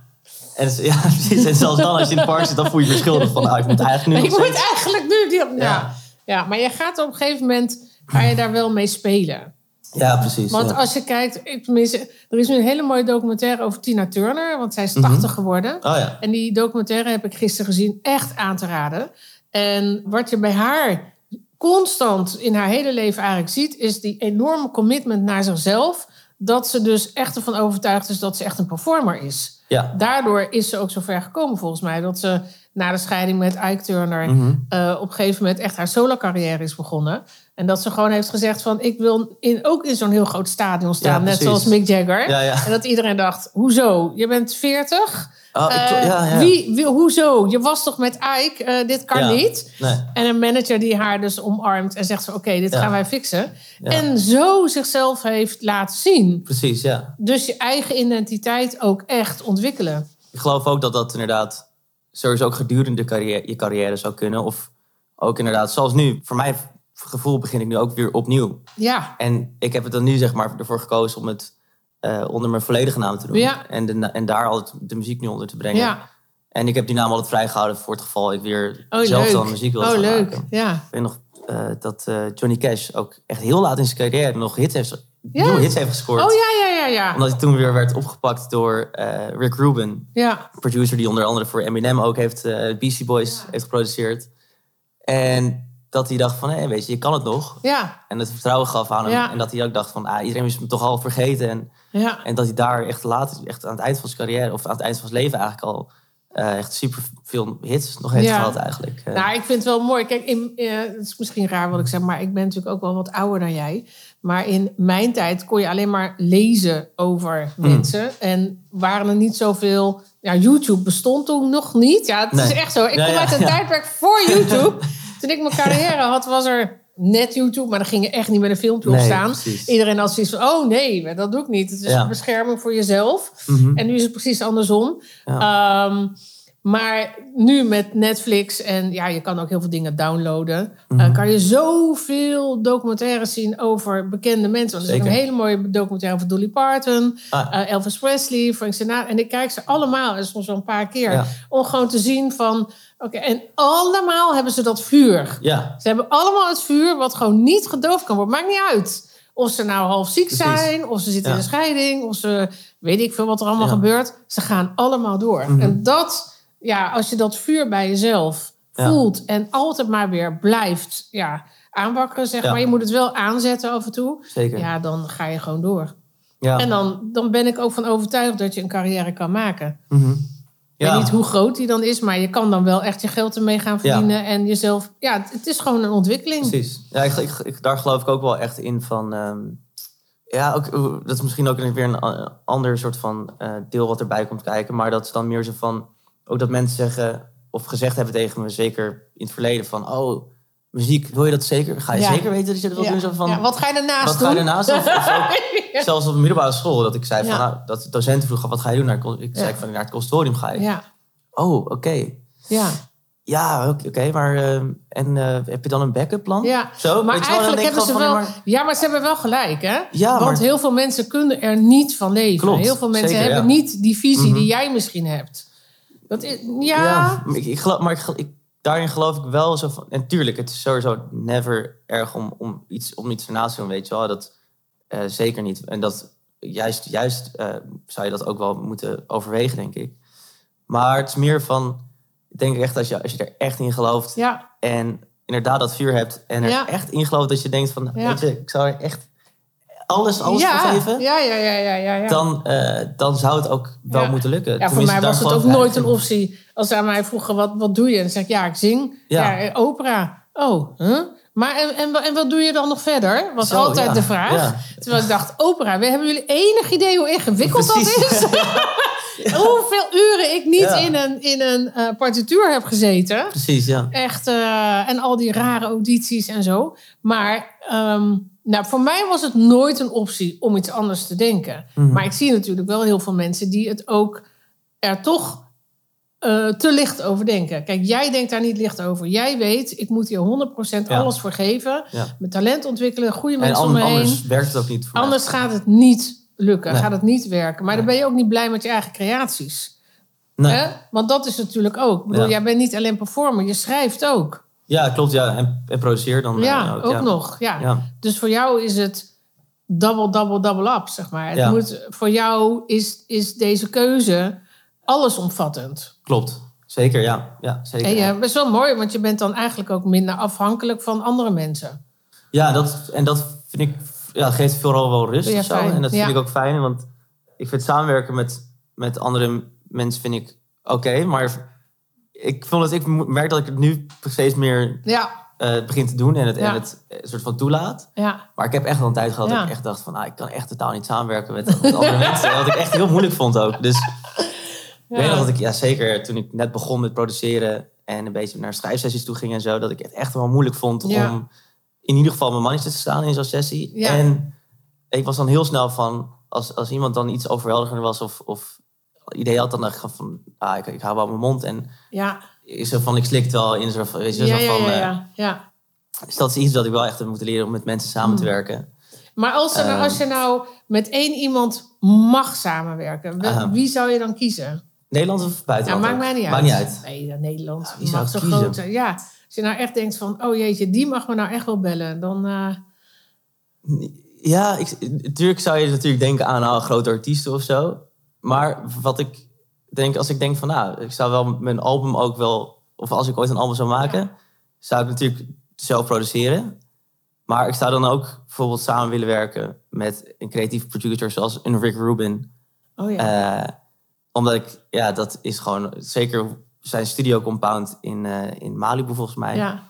En, z- ja, precies. En zelfs dan, als je in het park zit, dan voel je je verschuldigd van, ah, ik moet eigenlijk nu
ik
nog
moet
steeds-
eigenlijk nu... Die, nou, ja.
Ja.
maar je gaat op een gegeven moment... ga je daar wel mee spelen.
Ja, precies.
Want
ja.
als je kijkt... Ik, tenminste, er is nu een hele mooie documentaire over Tina Turner... want zij is 80 geworden.
Oh ja.
En die documentaire heb ik gisteren gezien, echt aan te raden. En wat je bij haar constant in haar hele leven eigenlijk ziet, is die enorme commitment naar zichzelf. Dat ze dus echt ervan overtuigd is dat ze echt een performer is.
Ja.
Daardoor is ze ook zo ver gekomen volgens mij. Dat ze na de scheiding met Ike Turner
Mhm.
eh, op een gegeven moment echt haar solo carrière is begonnen. En dat ze gewoon heeft gezegd van ik wil in, ook in zo'n heel groot stadion staan. net
precies.
zoals Mick Jagger.
Ja, ja.
En dat iedereen dacht, hoezo? Je bent 40?
Oh, ik
Eh,
to- ja, ja.
Wie, wie- hoezo? Je was toch met Ike? Eh, dit kan
Ja.
niet.
Nee.
En een manager die haar dus omarmt en zegt van... oké, dit
Ja.
gaan wij fixen. En zo zichzelf heeft laten zien.
Precies, ja.
Dus je eigen identiteit ook echt ontwikkelen.
Ik geloof ook dat dat inderdaad sowieso ook gedurende carrière, je carrière zou kunnen. Of ook inderdaad, zoals nu. Voor mijn gevoel begin ik nu ook weer opnieuw.
Ja,
En ik heb het dan nu zeg maar ervoor gekozen om het eh, onder mijn volledige naam te doen.
Ja.
En, de, na- en daar al het- de muziek nu onder te brengen.
ja.
En ik heb die naam altijd vrijgehouden voor het geval ik weer
Oh,
zelf
leuk.
dan muziek wil
Oh,
gaan
leuk.
maken.
Ja.
Ik weet nog eh, dat eh, Johnny Cash ook echt heel laat in zijn carrière nog hits heeft,
Ja.
nieuwe hits heeft gescoord.
Oh ja, ja, ja, ja.
Omdat hij toen weer werd opgepakt door eh, Rick Rubin.
Ja,
Producer die onder andere voor Eminem ook heeft, eh Beastie Boys heeft geproduceerd. En dat hij dacht van, hé, weet je, je kan het nog.
ja,
En het vertrouwen gaf aan hem.
Ja.
En dat hij ook dacht van, ah, iedereen is me toch al vergeten. En,
ja.
en dat hij daar echt later, echt aan het eind van zijn carrière... of aan het eind van zijn leven eigenlijk al... eh, echt super veel hits nog heeft
Ja.
gehad eigenlijk. Eh,
Nou, ik vind het wel mooi. Kijk, in, eh, het is misschien raar wat ik zeg, maar ik ben natuurlijk ook wel wat ouder dan jij. Maar in mijn tijd kon je alleen maar lezen over
Mm.
mensen. En waren er niet zoveel. Ja, YouTube bestond toen nog niet. Ja, het is
Nee.
echt zo. Ik
Ja,
kom
ja,
uit een
ja.
tijdperk voor YouTube. toen ik mijn carrière had, was er net YouTube, maar dan ging je echt niet met een filmpje
Nee,
op staan.
precies.
Iedereen had zoiets van: oh nee, maar dat doe ik niet. Het is
Ja.
een bescherming voor jezelf.
mhm.
En nu is het precies andersom. Ehm, maar nu met Netflix en ja, je kan ook heel veel dingen downloaden. eh,
Mhm.
kan je zoveel documentaires zien over bekende mensen. Want er is ook een
Zeker.
hele mooie documentaire over Dolly Parton,
Ah.
eh, Elvis Presley, Frank Sinatra. En ik kijk ze allemaal, en soms wel een paar keer.
Ja.
Om gewoon te zien van, oké, en allemaal hebben ze dat vuur.
Ja,
Ze hebben allemaal het vuur wat gewoon niet gedoofd kan worden. Maakt niet uit. Of ze nou half ziek
Precies.
zijn, of ze zitten in
Ja.
een scheiding, of ze weet ik veel wat er allemaal
Ja.
gebeurt. Ze gaan allemaal door.
Mhm.
En dat, ja, als je dat vuur bij jezelf
Ja.
voelt en altijd maar weer blijft ja, aanwakkeren, zeg
Ja.
maar. Je moet het wel aanzetten af en toe.
zeker. Ja.
Ja, dan ga je gewoon door.
Ja.
En dan, dan ben ik ook van overtuigd dat je een carrière kan maken.
Mhm.
Ik
ja.
weet niet hoe groot die dan is, maar je kan dan wel echt je geld ermee gaan
Ja.
verdienen. En jezelf, ja, het, het is gewoon een ontwikkeling.
Precies. Ja, ik, ik, ik- daar geloof ik ook wel echt in van... ehm, ja, ook, hoe- dat is misschien ook weer een a- ander soort van eh, deel wat erbij komt kijken. Maar dat is dan meer zo van... Ook dat mensen zeggen of gezegd hebben tegen me, zeker in het verleden, van... Oh, muziek, wil je dat zeker? Ga je
Ja.
zeker weten dat je dat wil
Ja.
Dus doen? Zo van,
Ja, wat ga je daarnaast
Wat
doen?
ga je daarnaast doen? Of- of ook- Zelfs op de middelbare school, dat ik zei van...
Ja.
Nou, dat docenten vroegen, wat ga je doen? Naar, het con- ik
Ja.
zei van, naar het conservatorium ga ik.
ja,
Oh, oké.
ja.
Ja, oké, oké, maar ehm, en eh, heb je dan een backup plan?
Ja,
Zo,
maar
weet je wel, dan
eigenlijk
denk ik
hebben ze
gewoon van,
wel...
ja, maar-
Ja, maar ze hebben wel gelijk, hè?
Ja,
Want
maar-
heel veel mensen kunnen er niet van leven.
Klopt,
heel veel mensen
zeker,
hebben
ja.
niet die visie
Mhm.
die jij misschien hebt. Dat is, ja,
Ja, maar ik, ik geloof, maar ik, gel- ik- daarin geloof ik wel zo van... En tuurlijk, het is sowieso never erg om, om, iets, om iets ernaast te doen, weet je wel. Dat eh, zeker niet. En dat juist, juist eh, zou je dat ook wel moeten overwegen, denk ik. Maar het is meer van... Ik denk echt, als je, als je er echt in gelooft...
ja,
en inderdaad dat vuur hebt... en er
Ja.
echt in gelooft dat je denkt van...
Ja.
weet je, ik zou er echt alles, alles voor
ja,
geven...
ja, ja, ja, ja, ja, ja.
Dan, eh, dan zou het ook wel
Ja.
moeten lukken.
ja, voor
Tenminste,
mij
daar
was het
geloof
ook
ik
nooit een
eigenlijk
optie. Als ze aan mij vroegen, wat, wat doe je? En dan zeg ik, ja, ik zing. Ja, eh,
Ja.
opera. Oh, huh? Maar en, en, en wat doe je dan nog verder? Was
Zo,
altijd
ja.
de vraag.
Ja.
Terwijl ik dacht, opera, we hebben jullie enig idee hoe ingewikkeld dat is?
Precies.
Hoeveel uren ik niet
Ja.
in een, in een eh, partituur heb gezeten.
in. Precies, ja.
Echt, eh, en al die rare audities en zo. Maar ehm, nou, voor mij was het nooit een optie om iets anders te denken.
Mhm.
Maar ik zie natuurlijk wel heel veel mensen die het ook er toch eh, te licht over denken. Kijk, jij denkt daar niet licht over. Jij weet, ik moet hier 100%
Ja.
alles voor geven.
Ja.
Mijn talent ontwikkelen, goede
En
mensen om me
an-
heen.
anders werkt het ook niet voor mij.
Anders gaat het niet lukken,
Nee.
gaat het niet werken. Maar dan ben je ook niet blij met je eigen creaties.
Nee.
Hè? Want dat is natuurlijk ook. Ik bedoel,
Ja.
jij bent niet alleen performer, je schrijft ook.
Ja, klopt. Ja. En, en produceer dan eh,
ja, ook
ja.
nog. Ja.
Ja.
Dus voor jou is het double, double, double up, zeg maar. Het
Ja.
moet, voor jou is, is deze keuze allesomvattend.
klopt. Zeker, ja. ja zeker.
En ja, best wel mooi, want je bent dan eigenlijk ook minder afhankelijk van andere mensen.
Ja, dat, en dat vind ik, ja, dat geeft vooral wel rust
Ja,
of zo.
fijn.
En dat vind
Ja.
ik ook fijn, want ik vind samenwerken met, met andere mensen vind ik oké. maar ik, vond het, ik merk dat ik het nu steeds meer
Ja,
eh, begin te doen en het,
Ja.
en het eh, soort van toelaat.
ja,
Maar ik heb echt wel een tijd gehad
Ja.
dat ik echt dacht van, ah, ik kan echt totaal niet samenwerken met, met andere mensen. Wat ik echt heel moeilijk vond ook. Dus
ja.
Ik weet nog dat ik, ja zeker, toen ik net begon met produceren en een beetje naar schrijfsessies toe ging en zo, dat ik het echt wel moeilijk vond
Ja.
om in ieder geval mijn mannetje te staan in zo'n sessie.
Ja.
En ik was dan heel snel van, als, als iemand dan iets overweldigender was of, of idee had, dan dacht ik gewoon van, ah, ik, ik hou wel mijn mond. En
Ja,
is zo van, ik slik het wel in, zo van, weet je,
ja, ja,
zo van,
ja,
eh,
ja, ja.
dus dat is iets dat ik wel echt heb moeten leren om met mensen samen
Hmm.
te werken.
Maar als, er, nou-
eh,
als je nou met één iemand mag samenwerken, wel-
Aha.
wie zou je dan kiezen?
Nederland of
Ja,
buitenland?
maakt
ook?
mij niet uit.
Maakt niet uit.
Nee, ja, Nederland
wie zou
mag zo
ik kiezen?
groot zijn. Ja, als je nou echt denkt van, oh jeetje, die mag me nou echt wel bellen. Dan, eh,
Ja, ik, natuurlijk zou je natuurlijk denken aan nou, grote artiesten of zo. Maar wat ik denk, als ik denk van nou, ik zou wel mijn album ook wel... Of als ik ooit een album zou maken, zou ik natuurlijk zelf produceren. Maar ik zou dan ook bijvoorbeeld samen willen werken met een creatieve producer zoals een Rick Rubin.
oh ja.
Eh, omdat ik, ja, dat is gewoon zeker zijn studio compound in, eh, in Malibu volgens mij.
ja.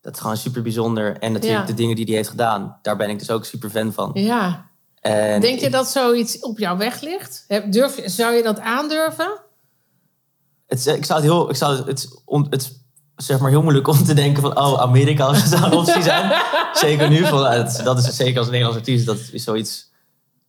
Dat is gewoon super bijzonder. En natuurlijk
Ja.
de dingen die hij heeft gedaan, daar ben ik dus ook super fan van.
ja.
En
Denk je
ik-
dat zoiets op jouw weg ligt? Heb- Durf, je- zou je dat aandurven?
Het, is- ik zou het heel, ik zou het, het, is on- het is, zeg maar heel moeilijk om te denken van, oh, Amerika als zou een optie zijn. zeker nu, van, nou, het- dat is zeker als Nederlands artiest, dat is zoiets,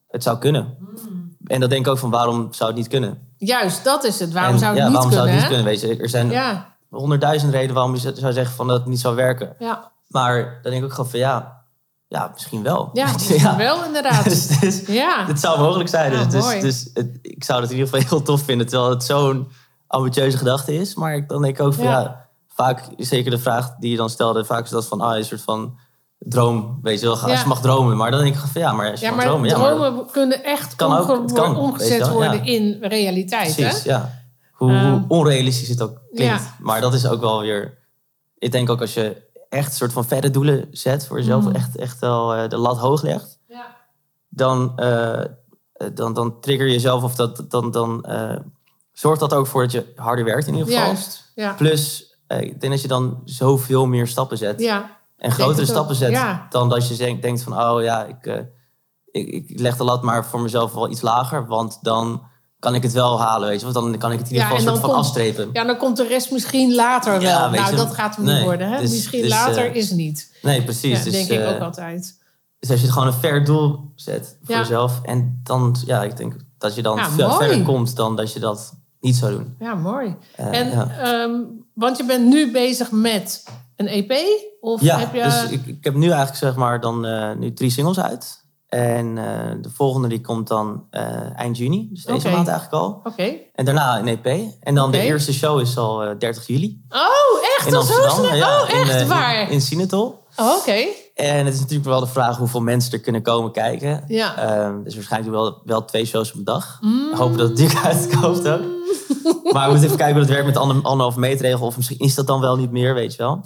het zou kunnen.
Hmm.
En dat denk ik ook van, waarom zou het niet kunnen?
Juist, dat is het. Waarom
En
zou het
ja,
niet
waarom
kunnen?
zou het
hè?
niet kunnen? Weet je, er zijn
Ja,
honderdduizend redenen waarom je zou zeggen van dat het niet zou werken.
ja,
Maar dan denk ik ook gewoon van, ja, ja misschien wel.
ja, misschien wel inderdaad.
Dus, dus,
Ja,
Het zou mogelijk zijn.
Ja,
dus
Ah, mooi.
dus, dus het- ik zou het in ieder geval heel tof vinden. Terwijl het zo'n ambitieuze gedachte is. Maar ik- dan denk ik ook van
Ja.
ja. vaak, zeker de vraag die je dan stelde, vaak is dat van ah, een soort van droom. Weet je wel, als
Ja.
je mag dromen. Maar dan denk ik van ja, maar als je
ja
mag
maar dromen,
dromen. Ja, maar,
kunnen echt
kan ook,
omge-
het kan,
omgezet
weet je wel,
worden
ja.
in realiteit.
precies,
Hè?
ja. Hoe, hoe
Ehm,
onrealistisch het ook klinkt.
ja.
Maar dat is ook wel weer. Ik denk ook als je echt een soort van verre doelen zet voor jezelf,
Mhm.
echt, echt wel eh, de lat hoog legt.
Ja.
dan, eh, eh, dan, dan trigger je jezelf of dat, dan, dan eh, zorgt dat ook voor dat je harder werkt in ieder geval.
Juist, ja.
Plus, eh, ik denk dat je dan zoveel meer stappen zet
ja.
en grotere
het ook,
stappen zet
ja.
dan dat je denk- denkt van, oh ja, ik, eh, ik, ik leg de lat maar voor mezelf wel iets lager, want dan kan ik het wel halen, weet je. Of dan kan ik het in ieder
Ja,
geval
en
een
dan
soort van
komt-
afstrepen.
Ja, dan komt de rest misschien later
Ja,
wel.
weet
Nou,
je,
dat gaat hem niet
nee,
worden. Hè?
dus-
misschien
dus,
later
eh,
is niet.
Nee, precies.
Ja,
dus,
denk ik
eh,
ook altijd.
dus als je het gewoon een ver doel zet voor
Ja.
jezelf en dan, ja, ik denk dat je dan
Ja,
veel
mooi.
verder komt dan dat je dat niet zou doen.
Ja, mooi.
Eh,
en,
ja.
ehm, want je bent nu bezig met een EP? Of
Ja,
heb je...
dus ik, ik heb nu eigenlijk zeg maar dan eh, nu drie singles uit. En eh, de volgende die komt dan eh, eind juni, dus deze
Oké.
maand eigenlijk al.
Oké.
En daarna een EP. En dan
Oké.
de eerste show is al eh, 30 juli
Oh, echt?
in
Al zo
Amsterdam.
snel?
Ja,
oh,
in,
echt?
eh, in-
Waar?
In, Sinatol.
Oh, Oké.
En het is natuurlijk wel de vraag hoeveel mensen er kunnen komen kijken.
Ja. Mm.
Ehm, dus waarschijnlijk wel, wel twee shows op een dag. We Hopen dat het natuurlijk uitkoopt ook. Maar we moeten even kijken hoe dat werkt met de ander, anderhalve meter regel. Of misschien is dat dan wel niet meer, weet je wel.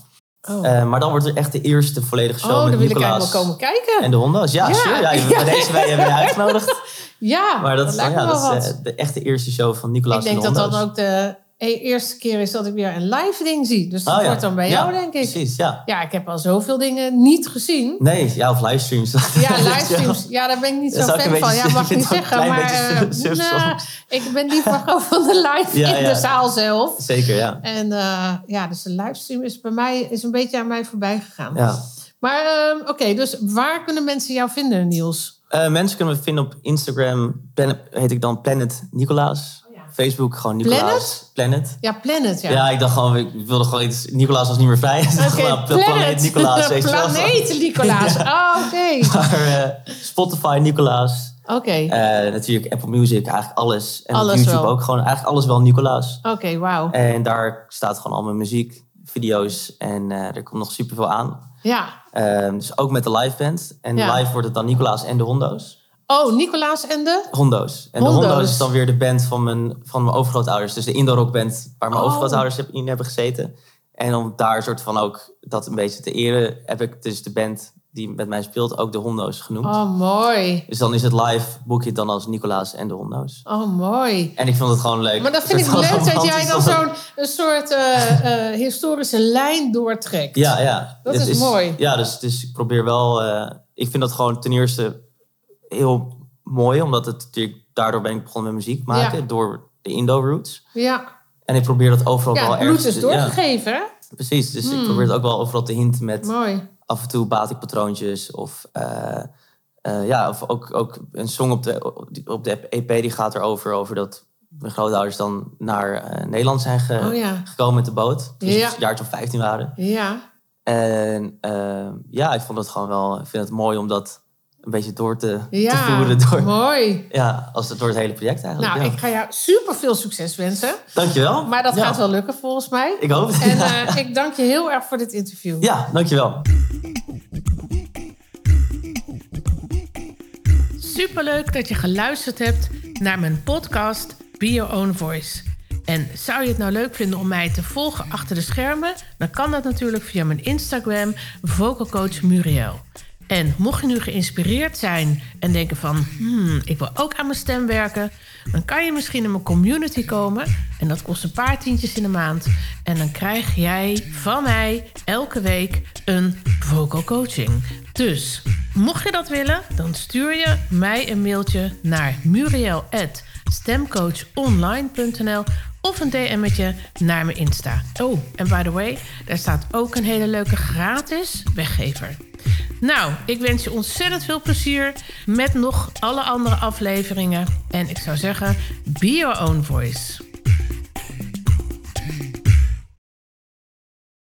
Oh.
Eh, maar dan wordt er echt de eerste volledige show
oh,
met
dan wil ik
Nicolaas.
eigenlijk wel komen kijken.
En de honden's, ja,
Ja.
sure. Ja,
Ja.
Bij deze wij hebben je uitgenodigd.
ja,
Maar dat, is, dan-
lijkt
ja,
me
dat
wel
is
wat.
eh, de echte eerste show van Nicolaas
ik denk
en
dat
de
dat
honden's.
ook de e- eerste keer is dat ik weer een live ding zie. Dus dat
Oh, ja.
wordt dan bij
Ja,
jou, denk ik.
Precies, ja.
Ja, ik heb al zoveel dingen niet gezien.
Nee, ja, of livestreams.
Ja, livestreams. Ja, daar ben ik niet
Dat
zo
is ook
fan
een
van.
beetje-
Ja, mag
ik
ik niet
vind het
zeggen.
ook een
Maar
klein
eh,
beetje suf- suf
nou, ik ben liever gewoon van de live
Ja,
in
ja.
de zaal zelf.
Zeker, ja.
En eh, ja, dus de livestream is bij mij is een beetje aan mij voorbij gegaan.
ja.
Maar ehm, oké, dus waar kunnen mensen jou vinden, Niels?
Eh, mensen kunnen me vinden op Instagram. Plan- heet ik dan Planet Nicolaas. Facebook gewoon Nicolaas. Planet?
Ja, Planet. Oh, Ja,
Ja. ik dacht gewoon, ik wilde gewoon iets. Nicolaas was niet meer vrij. Dus ik dacht,
Oké,
nou, pla- Planet Nicolaas. weet je wel.
Planeet Nicolaas. Oh, oké.
Maar, eh, Spotify Nicolaas.
Oké,
Eh, natuurlijk Apple Music, eigenlijk alles. En op
Alles
YouTube
wel.
ook gewoon, eigenlijk alles wel Nicolaas.
oké, wauw.
En daar staat gewoon al mijn muziek, video's en eh, er komt nog superveel aan.
Ja.
Eh, dus ook met de live band. En
Ja.
live wordt het dan Nicolaas en de Hondo's.
Oh, Nicolaas en de?
Hondo's. En
Hondo's.
de Hondo's is dan weer de band van mijn, van mijn overgrootouders. Dus de indoor-rockband waar mijn
Oh.
overgrootouders heb- in hebben gezeten. En om daar soort van ook dat een beetje te eren, heb ik dus de band die met mij speelt ook de Hondo's genoemd.
Oh, mooi.
Dus dan is het live, boek je het dan als Nicolaas en de Hondo's.
Oh, mooi.
En ik vond het gewoon leuk.
Maar dat vind ik
vond het
leuk dat jij
romantisch
dan
dat het-
zo'n een soort eh, eh, historische lijn doortrekt.
Ja, ja.
Dat
Het
is mooi.
Ja, dus, dus ik probeer wel... eh, ik vind dat gewoon ten eerste heel mooi. Omdat het natuurlijk... Daardoor ben ik begonnen met muziek maken.
Ja.
Door de Indo-roots.
ja.
En ik probeer dat overal
ja
wel
het bloed
ergens...
is
te-
doorgegeven. hè?
Ja, precies. Dus ik probeer het ook wel overal te hinten met...
Mooi.
Af en toe baat ik patroontjes. Of, eh, E eh, ja, of ook, ook een song op de, op de EP die gaat erover. Over dat mijn grootouders dan naar eh, Nederland zijn ge-
Oh ja.
gekomen met de boot. Dus Toen ze
Ja.
een jaartje of 15 waren.
Ja.
En eh, ja, ik vond dat gewoon wel, ik vind het mooi om dat een beetje door te, te
Ja.
voeren. Door,
Mooi.
ja, als het, door het hele project eigenlijk.
Nou,
ja.
ik ga jou super veel succes wensen.
Dankjewel.
Maar dat
Ja,
gaat wel lukken volgens mij.
Ik hoop het.
En eh, ik dank je heel erg voor dit interview.
ja, dankjewel.
Superleuk dat je geluisterd hebt naar mijn podcast Be Your Own Voice. En zou je het nou leuk vinden om mij te volgen achter de schermen? Dan kan dat natuurlijk via mijn Instagram Vocal Coach Muriel. En mocht je nu geïnspireerd zijn en denken van... Hmm, ik wil ook aan mijn stem werken... dan kan je misschien in mijn community komen. En dat kost een paar tientjes in de maand. En dan krijg jij van mij elke week een vocal coaching. Dus mocht je dat willen, dan stuur je mij een mailtje naar muriel.stemcoachonline.nl of een DM'tje naar mijn Insta. Oh, en by the way, daar staat ook een hele leuke gratis weggever. Nou, ik wens je ontzettend veel plezier met nog alle andere afleveringen. En ik zou zeggen, be your own voice.